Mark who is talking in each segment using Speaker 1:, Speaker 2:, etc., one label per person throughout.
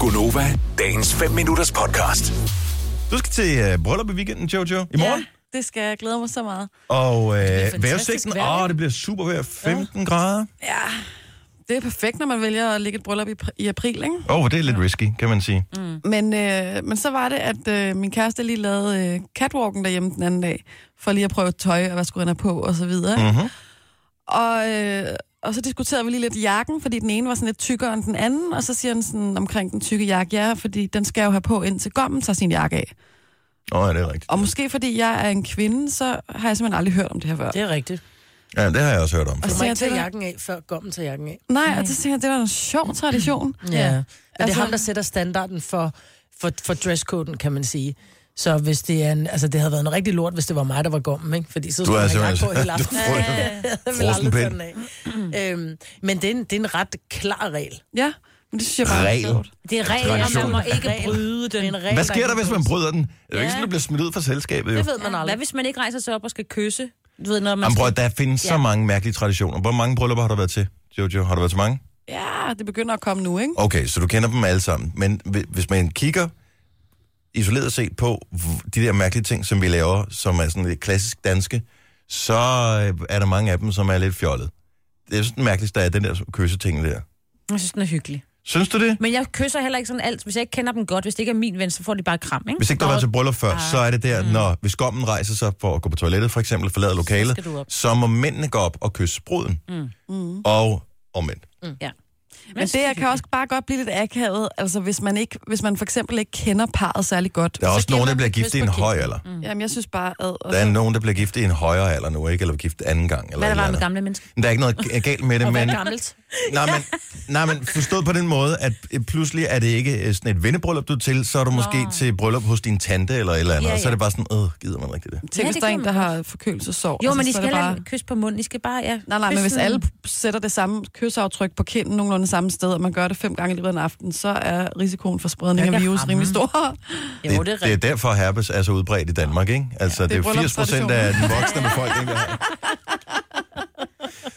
Speaker 1: Gunova, dagens 5 minutters podcast.
Speaker 2: Du skal til øh, bryllup i weekenden, Jojo, i morgen.
Speaker 3: Ja, det skal jeg. jeg glæder mig så meget.
Speaker 2: Og øh,
Speaker 3: fantastisk
Speaker 2: vejrudsigten,
Speaker 3: vejr,
Speaker 2: åh,
Speaker 3: ikke?
Speaker 2: det bliver super vejr. 15 grader.
Speaker 3: Ja, det er perfekt, når man vælger at lægge et bryllup i, pr- i april, ikke?
Speaker 2: Åh, oh, det er lidt risky, kan man sige. Mm.
Speaker 3: Men, øh, men så var det, at øh, min kæreste lige lavede øh, catwalken derhjemme den anden dag, for lige at prøve tøj, og hvad skulle han have på, og så videre. ikke?
Speaker 2: Mm-hmm.
Speaker 3: Og, øh, og så diskuterede vi lige lidt jakken, fordi den ene var sådan lidt tykkere end den anden, og så siger han sådan omkring den tykke jakke, ja, fordi den skal jeg jo have på, indtil gommen tager sin jakke af.
Speaker 2: Åh, ja, det er rigtigt.
Speaker 3: Og måske fordi jeg er en kvinde, så har jeg simpelthen aldrig hørt om det her før.
Speaker 4: Det er rigtigt.
Speaker 2: Ja, det har jeg også hørt om.
Speaker 3: Og
Speaker 2: før.
Speaker 3: så
Speaker 4: Du må
Speaker 3: siger
Speaker 4: ikke
Speaker 3: jeg til
Speaker 4: tage
Speaker 3: dig,
Speaker 4: jakken af, før gommen tager jakken af.
Speaker 3: nej, og så siger jeg, det var en sjov tradition.
Speaker 4: Mm. Ja. Men det
Speaker 3: Altså-
Speaker 4: er ham, der sætter standarden for, for, for dresscoden, kan man sige. Så hvis det er en, altså det havde været en rigtig lort, hvis det var mig, der var gommen, ikke? Fordi så skulle
Speaker 2: er
Speaker 4: jeg have jakke
Speaker 2: simpelthen-
Speaker 4: på hele aftenen.
Speaker 2: Du er
Speaker 4: Jeg ville aldrig tage den af. Øhm, men det er, en, det er en ret klar regel.
Speaker 3: Ja, men det synes jeg bare er
Speaker 2: Regel.
Speaker 3: sjovt.
Speaker 5: Det er regel, og man må ikke bryde den.
Speaker 4: En regel,
Speaker 2: Hvad sker der, hvis man
Speaker 4: bryder
Speaker 2: bryder den? Det er jo ikke
Speaker 5: Ja.
Speaker 2: sådan, at du bliver smidt ud fra selskabet, jo.
Speaker 4: Det ved man aldrig.
Speaker 5: Hvad hvis man ikke rejser sig op og skal kysse? Du ved, når man
Speaker 2: Jamen,
Speaker 5: skal...
Speaker 2: prøv, at der findes ja. så
Speaker 5: Ja.
Speaker 2: mange mærkelige traditioner. Hvor mange bryllupper har du været til, Jojo? Har du været til mange?
Speaker 3: Ja, det begynder at komme nu, ikke?
Speaker 2: Okay, så du kender dem alle sammen. Men hvi- hvis man kigger isoleret set på hv- de der mærkelige ting, som vi laver, som er sådan lidt klassisk danske, så øh, er der mange af dem, som er lidt fjollet. Det er sådan mærkeligt, der er den der kysseting der.
Speaker 5: Jeg synes, den er hyggelig.
Speaker 2: Synes du det?
Speaker 5: Men jeg kysser heller ikke sådan alt. Hvis jeg ikke kender dem godt, hvis det ikke er min ven, så får de bare kram, ikke?
Speaker 2: Hvis ikke du har været til bryllup før, så er det der, når hvis gommen rejser sig for at gå på toilettet, for eksempel forlader lokalet,
Speaker 5: Mm. skal du op.
Speaker 2: så må mændene gå op og kysse bruden. Mm. Og omvendt.
Speaker 5: Ja.
Speaker 3: Men det jeg kan også bare godt blive lidt akavet, altså hvis man, ikke, hvis man for eksempel ikke kender parret særlig godt.
Speaker 2: Der er også
Speaker 5: giver
Speaker 2: nogen,
Speaker 5: man
Speaker 2: der bliver
Speaker 5: et kys
Speaker 2: gift i
Speaker 5: på
Speaker 2: en
Speaker 5: kinden.
Speaker 2: høj alder. Mm.
Speaker 3: Jamen, jeg synes bare, ad, og
Speaker 2: Der er
Speaker 3: så,
Speaker 2: nogen, der bliver gift i en højere alder nu, ikke? Eller gift anden gang. Eller
Speaker 5: Hvad er
Speaker 2: et eller
Speaker 5: der var med
Speaker 2: andet.
Speaker 5: gamle mennesker?
Speaker 2: Der er ikke noget g- galt med det, men...
Speaker 5: gammelt.
Speaker 2: Nej, men, nej, men forstået på den måde, at øh, pludselig er det ikke øh, sådan et vennebryllup, du er til, så er du måske til bryllup hos din tante eller et eller andet,
Speaker 5: Ja,
Speaker 2: og så er
Speaker 5: ja.
Speaker 2: det bare sådan, øh, gider man rigtig det?
Speaker 3: tænk,
Speaker 5: Ja,
Speaker 3: hvis
Speaker 5: det
Speaker 3: der er
Speaker 5: kan
Speaker 3: en, der
Speaker 5: man
Speaker 3: har forkølelsessorg.
Speaker 5: Jo,
Speaker 3: altså,
Speaker 5: men
Speaker 3: så
Speaker 5: I
Speaker 3: er
Speaker 5: skal
Speaker 3: det
Speaker 5: heller
Speaker 3: bare...
Speaker 5: ikke kys på munden. I skal bare, ja.
Speaker 3: Nej, nej, men
Speaker 5: kysse
Speaker 3: hvis
Speaker 5: sådan-
Speaker 3: alle sætter det samme kysaftryk på kinden nogenlunde samme sted, og man gør det fem gange i løbet af en aften, så er risikoen for spredning af
Speaker 5: kan
Speaker 3: virus
Speaker 5: ramme.
Speaker 3: rimelig stor.
Speaker 5: Jo,
Speaker 2: det, det er derfor, at herpes er så udbredt i Danmark, ikke? Altså, ja, det, det er 80 procent af den voksne befolkning, der har.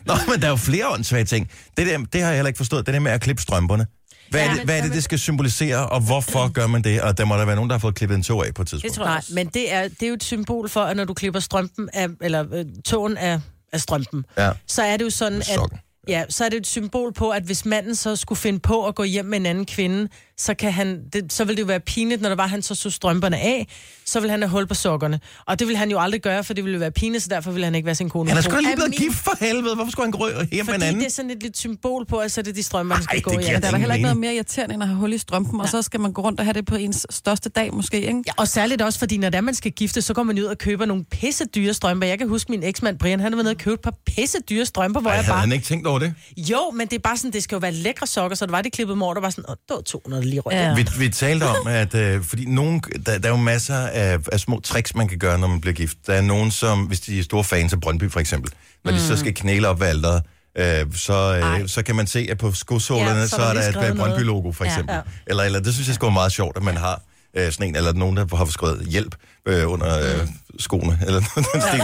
Speaker 2: Nå, men der er jo flere åndssvage ting. Det, der, det har jeg heller ikke forstået. Det der med at klippe strømperne. Hvad, ja, er, det, hvad er det, det skal symbolisere, og hvorfor gør man det? Og der må der være nogen, der har fået klippet en tog af på et tidspunkt.
Speaker 5: Det tror jeg
Speaker 4: Nej,
Speaker 5: også.
Speaker 4: men det er, det er jo et symbol for, at når du klipper strømpen af, eller øh, tåen af, af strømpen,
Speaker 2: Ja.
Speaker 4: så er det jo sådan, at...
Speaker 2: Sokken.
Speaker 4: Ja, så er det et symbol på, at hvis manden så skulle finde på at gå hjem med en anden kvinde, så, kan han, det, så ville det jo være pinligt, når der var, han så så strømperne af, så ville han have hul på sokkerne. Og det ville han jo aldrig gøre, for det ville jo være pinligt, så derfor ville han ikke være sin kone.
Speaker 2: Han er sgu da lige
Speaker 4: Af
Speaker 2: blevet
Speaker 4: min-
Speaker 2: gift for helvede. Hvorfor skulle han gå hjem med en
Speaker 4: Fordi
Speaker 2: anden?
Speaker 4: det er sådan et lidt symbol på, at så er det de strømmer, han skal
Speaker 2: Ej,
Speaker 4: gå
Speaker 2: det
Speaker 4: i.
Speaker 2: giver
Speaker 3: Der er der
Speaker 2: ingen
Speaker 3: heller ikke noget
Speaker 2: mening.
Speaker 3: mere irriterende, end at have hul i strømpen, og så skal man gå rundt og have det på ens største dag måske, ikke?
Speaker 4: Ja, og særligt også, fordi når det er, man skal gifte, så går man ud og køber nogle pisse dyre strømper. Jeg kan huske min eksmand Brian, han har været nede og købt et par pisse dyre strømper, hvor
Speaker 2: Ej,
Speaker 4: jeg
Speaker 2: havde
Speaker 4: bare...
Speaker 2: han ikke tænkt over det?
Speaker 4: Jo, men det er bare sådan, det skal jo være lækre sokker, så det var det klippet mor, der var sådan, åh, det var 200 lige rødt.
Speaker 5: Ja.
Speaker 4: Ja.
Speaker 2: Vi, vi talte om, at øh, fordi nogen, der, der er jo masser af, af små tricks, man kan gøre, når man bliver gift. Der er nogen, som, hvis de er store fans af Brøndby for eksempel, når mm. de så skal knæle op ved alderet, øh, så, øh, så kan man se, at på skosålerne, ja, så, er
Speaker 4: lige
Speaker 2: der et øh,
Speaker 4: skrevet noget.
Speaker 2: Brøndby-logo for
Speaker 4: Ja.
Speaker 2: eksempel. Ja,
Speaker 4: Ja.
Speaker 2: Eller, eller det synes jeg sgu er meget sjovt, at man har øh, sådan en, eller nogen, der har skrevet hjælp øh, under øh,
Speaker 5: Mm.
Speaker 2: skoene, eller noget den stil.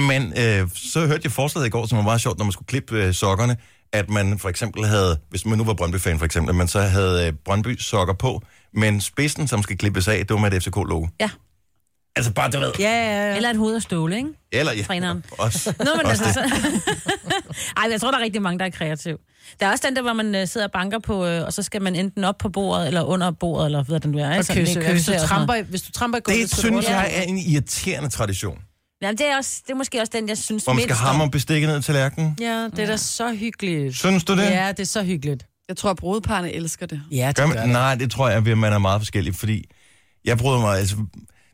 Speaker 2: Men øh, så hørte jeg forslaget i går, som var meget sjovt, når man skulle klippe øh, sokkerne, at man for eksempel havde, hvis man nu var Brøndby-fan for eksempel, at man så havde øh, Brøndby-sokker på, men spidsen, som skal klippes af, det var med et FCK-logo.
Speaker 5: Ja.
Speaker 2: Altså bare, du ved.
Speaker 4: Ja, ja, ja.
Speaker 5: Eller et hoved og ståle, ikke?
Speaker 2: Eller, ja.
Speaker 5: Træneren.
Speaker 2: Også,
Speaker 5: Nå, men
Speaker 2: også
Speaker 5: altså,
Speaker 2: det.
Speaker 5: så... Ej, men jeg tror, der er rigtig mange, der er kreative. Der er også den der, hvor man øh, sidder og banker på, øh, og så skal man enten op på bordet, eller under bordet, eller hvad den nu er. ikke? Sådan, det er
Speaker 4: Hvis du
Speaker 5: og sådan
Speaker 4: tramper, i- hvis du tramper i gulvet,
Speaker 2: Det
Speaker 4: så er du
Speaker 2: synes
Speaker 4: under.
Speaker 2: jeg er en irriterende tradition,
Speaker 5: noget. Jamen, det er, også, det er måske også den, jeg synes
Speaker 2: hvor man skal
Speaker 5: mindst om.
Speaker 2: hamre bestikket ned til lærken.
Speaker 4: Ja, det er da så hyggeligt.
Speaker 2: Synes du det?
Speaker 4: Ja, det er så hyggeligt.
Speaker 3: Jeg tror, at brudeparne elsker det.
Speaker 4: Ja, det
Speaker 2: Gør
Speaker 4: gør,
Speaker 2: man?
Speaker 4: det.
Speaker 2: Nej, det tror jeg, at man er meget forskellig, fordi jeg bryder mig, altså,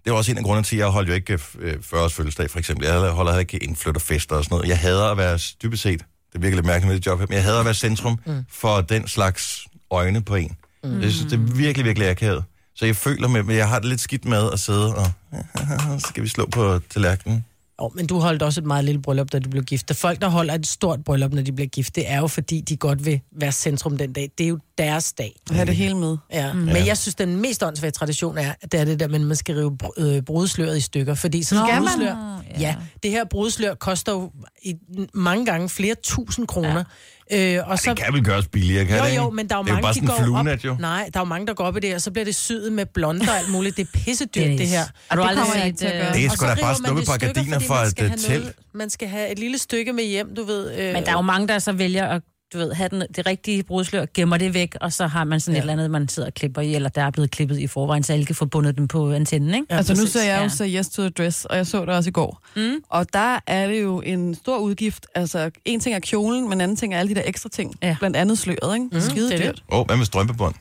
Speaker 2: det var også en af grundene til, at jeg holdt jo ikke øh, 40-års fødselsdag, for eksempel. Jeg holder heller ikke indflytterfester og sådan noget. Jeg hader at være, dybest set, det virker lidt mærkeligt med det job her, men jeg hader at være centrum mm. for den slags øjne på en. Mm. Jeg synes, det er virkelig, virkelig akavet. Så jeg føler med, men jeg har det lidt skidt med at sidde og, så skal vi slå på tallerkenen.
Speaker 4: Oh, men du holdt også et meget lille bryllup, da du blev gift. Der folk, der holder et stort bryllup, når de bliver gift, det er jo fordi, de godt vil være centrum den dag. Det er jo deres dag.
Speaker 3: At have det hele med.
Speaker 4: Ja. Mm. Men jeg synes, den mest åndssvage tradition er, at det er det der, med, at man skal rive br- øh, brudsløret i stykker. Fordi sådan
Speaker 3: Skal
Speaker 4: et
Speaker 3: man?
Speaker 4: brudslør, ja. det her brudslør koster jo i, mange gange flere tusind kroner. Øh, og
Speaker 2: Så... Det kan vel gøres billigere, kan
Speaker 4: jo,
Speaker 2: det ikke?
Speaker 4: jo, men der er jo
Speaker 2: det er jo
Speaker 4: mange,
Speaker 2: bare
Speaker 4: de
Speaker 2: sådan en
Speaker 4: går
Speaker 2: fluenat,
Speaker 4: op.
Speaker 2: jo.
Speaker 4: Nej, der er jo mange, der går op i det, og så bliver det syet med blonde og alt muligt. Det er pissedyrt,
Speaker 5: Dennis.
Speaker 4: det her.
Speaker 5: Har du
Speaker 3: Det
Speaker 5: aldrig
Speaker 3: kommer jeg
Speaker 5: set...
Speaker 3: ikke til at
Speaker 5: øh,
Speaker 3: gøre.
Speaker 2: Det er
Speaker 4: Og
Speaker 2: sgu
Speaker 4: så
Speaker 2: da
Speaker 4: river
Speaker 2: bare
Speaker 4: man
Speaker 2: stukket
Speaker 4: det
Speaker 2: par
Speaker 4: i stykker,
Speaker 2: gardiner
Speaker 4: fordi
Speaker 2: fra
Speaker 4: man
Speaker 2: et
Speaker 4: skal
Speaker 2: øh,
Speaker 4: have
Speaker 2: telt.
Speaker 4: noget- Man skal have et lille stykke med hjem, du ved. Øh,
Speaker 5: Men der er jo mange, der så vælger at du ved, have den, det rigtige brudslør, gemmer det væk, og så har man sådan ja.
Speaker 4: Ja.
Speaker 5: et eller andet, man sidder og klipper i, eller der er blevet klippet i forvejen, så alle kan få bundet den på antennen, ikke?
Speaker 4: Ja,
Speaker 3: altså nu
Speaker 4: præcis.
Speaker 3: ser jeg jo
Speaker 5: Ja.
Speaker 3: så Yes to the Dress, og jeg så det også i går.
Speaker 5: Mm.
Speaker 3: Og der er det jo en stor udgift. Altså, en ting er kjolen, men anden ting er alle de der ekstra ting.
Speaker 5: Ja.
Speaker 3: Ja. Blandt andet sløret, ikke? Mm, Skide
Speaker 5: det er
Speaker 3: dyrt.
Speaker 2: Åh, oh, hvad med strømpebånd?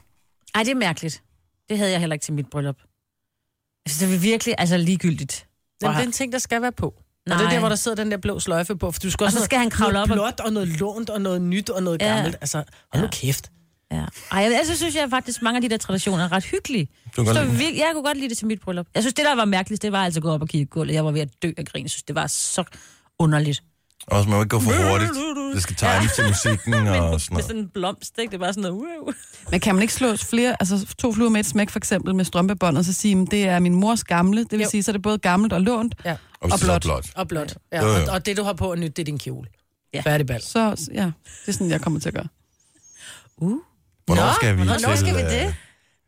Speaker 5: Ej, det er mærkeligt. Det havde jeg heller ikke til mit bryllup. Altså, det er virkelig altså, ligegyldigt.
Speaker 4: Jamen, det er en ting, der skal være på. Nej. Og det er
Speaker 5: Nej.
Speaker 4: der, hvor der sidder den der blå sløjfe på, for du skal
Speaker 5: Og
Speaker 4: også
Speaker 5: så skal han kravle op
Speaker 4: noget
Speaker 5: og-
Speaker 4: blåt og noget lånt og noget nyt og noget
Speaker 5: Ja.
Speaker 4: gammelt. Altså, hold nu
Speaker 5: Ja.
Speaker 4: kæft.
Speaker 5: Ja. Ej, jeg- altså synes jeg faktisk, mange af de der traditioner er ret hyggelige.
Speaker 2: Du kan
Speaker 5: Så
Speaker 2: godt lide
Speaker 5: vir- jeg kunne godt lide det til mit bryllup. Jeg synes, det der var mærkeligst, det var altså at gå op og kigge i gulvet. Jeg var ved at dø af grin. Jeg synes, det var så underligt.
Speaker 2: Også man må ikke gå for hurtigt. Det skal times til musikken og sådan
Speaker 5: Med
Speaker 2: noget.
Speaker 5: sådan en blomst, ikke? Det var sådan noget... Wow.
Speaker 3: Men kan man ikke slå flere, altså to fluer med et smæk, for eksempel med strømpebånd, og så sige, at det er min mors gamle, det vil
Speaker 4: Jo.
Speaker 3: jo. sige, så er det både gammelt og lånt,
Speaker 4: Ja.
Speaker 2: Og hvis
Speaker 3: og
Speaker 2: det så er
Speaker 3: blot.
Speaker 2: blot.
Speaker 4: Og blåt. Ja.
Speaker 2: Jo, jo.
Speaker 4: Og, og, det, du har på at nyt, det er din kjole.
Speaker 5: Ja.
Speaker 4: Ja. Færdig ball.
Speaker 3: så ja, det er sådan, jeg kommer til at gøre.
Speaker 5: Uh.
Speaker 2: Hvornår skal vi
Speaker 5: hvornår
Speaker 2: til...
Speaker 5: skal vi
Speaker 2: øh,
Speaker 5: det?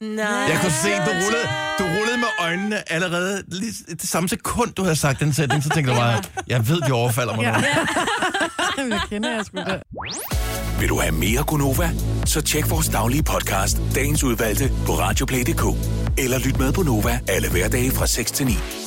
Speaker 4: Nej.
Speaker 2: Jeg kunne se, du rullede, du rullede med øjnene allerede lige s- det samme sekund, du havde sagt den sætning. Så tænkte jeg bare, jeg ved, de overfalder mig nu.
Speaker 3: jeg kender jeg sgu da.
Speaker 1: Vil du have mere Gunova? Så tjek vores daglige podcast, dagens udvalgte, på radioplay.dk. Eller lyt med på Nova alle hverdage fra 6 til 9.